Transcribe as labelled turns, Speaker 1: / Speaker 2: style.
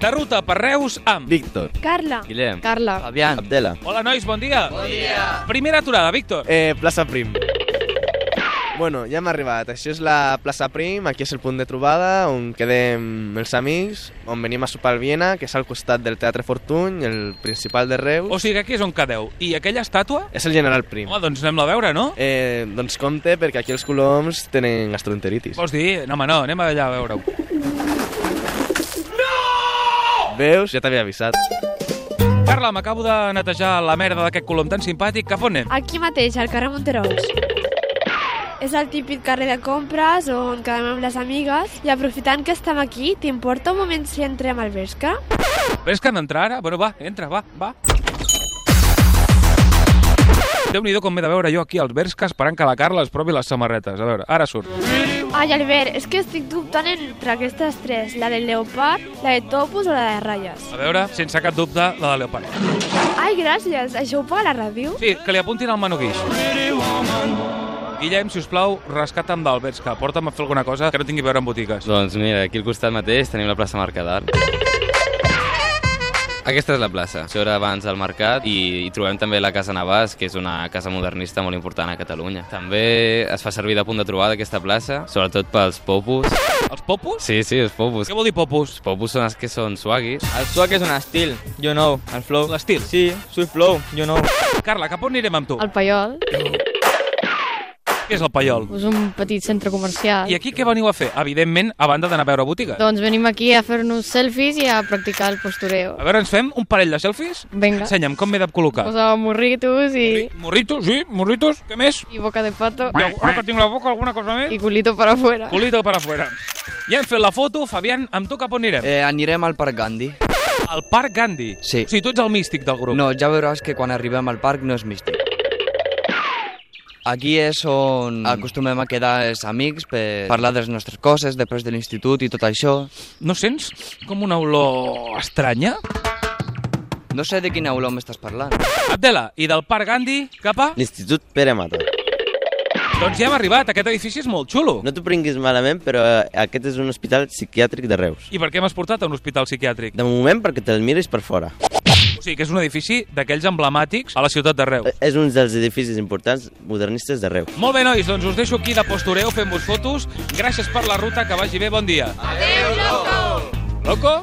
Speaker 1: De ruta per Reus amb...
Speaker 2: Víctor.
Speaker 3: Carla.
Speaker 4: Guillem.
Speaker 3: Carla.
Speaker 4: Fabián.
Speaker 2: Abdela.
Speaker 1: Hola, nois, bon dia. Bon dia. Primera aturada, Víctor.
Speaker 2: Eh, plaça Prim. Bueno, ja hem arribat. Això és la plaça Prim, aquí és el punt de trobada on quedem els amics, on venim a sopar al Viena, que és al costat del Teatre Fortuny, el principal de Reus.
Speaker 1: O sigui que aquí és on quedeu. I aquella estàtua?
Speaker 2: És el general Prim.
Speaker 1: Home, doncs anem-la a veure, no?
Speaker 2: Eh, doncs compte, perquè aquí els coloms tenen gastroenteritis.
Speaker 1: Vols dir? No, home, no, anem allà a veure-ho.
Speaker 2: Veus? Ja t'havia avisat.
Speaker 1: Carla, m'acabo de netejar la merda d'aquest colom tan simpàtic. Cap on anem?
Speaker 3: Aquí mateix, al carrer Monterols. És el típic carrer de compres on quedem amb les amigues i aprofitant que estem aquí, t'importa un moment si entrem al Vesca?
Speaker 1: Ves que han d'entrar ara? Bueno, va, entra, va, va. Déu-n'hi-do com m'he de veure jo aquí als Berska esperant que la Carla es provi les samarretes. A veure, ara surt.
Speaker 3: Ai, Albert, és que estic dubtant entre aquestes tres, la del leopard, la de topos o la de ratlles.
Speaker 1: A veure, sense cap dubte, la de Leopard.
Speaker 3: Ai, gràcies, això ho paga la ràdio?
Speaker 1: Sí, que li apuntin al manuguix. Guillem, si us plau, rescata'm del Berska. Porta'm a fer alguna cosa que no tingui a veure amb botigues.
Speaker 4: Doncs mira, aquí al costat mateix tenim la plaça Mercadar. Aquesta és la plaça. Això era abans del mercat i hi trobem també la Casa Navàs, que és una casa modernista molt important a Catalunya. També es fa servir de punt de trobada aquesta plaça, sobretot pels popus.
Speaker 1: Els popus?
Speaker 4: Sí, sí, els popus.
Speaker 1: Què vol dir popus?
Speaker 4: Els popus són els que són swaggy.
Speaker 5: El swag és un estil, jo no, el flow.
Speaker 1: L'estil.
Speaker 5: Sí, swift flow, jo no.
Speaker 1: Carla, cap on anirem amb tu?
Speaker 6: El Paiol
Speaker 1: Què és el Paiol?
Speaker 6: és un petit centre comercial.
Speaker 1: I aquí què veniu a fer? Evidentment, a banda d'anar a veure botigues.
Speaker 6: Doncs venim aquí a fer-nos selfies i a practicar el postureo.
Speaker 1: A veure, ens fem un parell de selfies?
Speaker 6: Vinga,
Speaker 1: Ensenya'm com m'he de col·locar.
Speaker 6: posa morritos i,
Speaker 1: Morritos, sí, morritos. Què més?
Speaker 6: i boca de pato
Speaker 1: Ja, ara que tinc la boca, alguna cosa més?
Speaker 6: i culito para afuera.
Speaker 1: Culito para afuera. Ja hem fet la foto, Fabián, amb tu cap on anirem?
Speaker 7: Eh, anirem al Parc Gandhi.
Speaker 1: Al Parc Gandhi.
Speaker 7: Sí.
Speaker 1: O sigui, tu ets el místic del grup.
Speaker 7: No, ja veuràs que quan arribem al parc no és místic. Aquí és on acostumem a quedar els amics per parlar de les nostres coses, després de l'institut i tot això.
Speaker 1: No sents com una olor estranya?
Speaker 7: No sé de quina olor m'estàs parlant.
Speaker 1: Abdela, i del Parc Gandhi cap a...
Speaker 8: L'Institut Pere Mata.
Speaker 1: Doncs ja hem arribat, aquest edifici és molt xulo.
Speaker 8: No t'ho prenguis malament, però eh, aquest és un hospital psiquiàtric de Reus.
Speaker 1: I per què m'has portat a un hospital psiquiàtric?
Speaker 8: De moment perquè te'l miris per fora. Eh,
Speaker 1: O sigui, que és un edifici d'aquells emblemàtics a la ciutat de Reus.
Speaker 8: Eh, És un dels edificis importants modernistes de Reus.
Speaker 1: Molt bé, nois, doncs us deixo aquí de postureu fent-vos fotos. Gràcies per la ruta, que vagi bé, bon dia. Adéu, loco! Loco?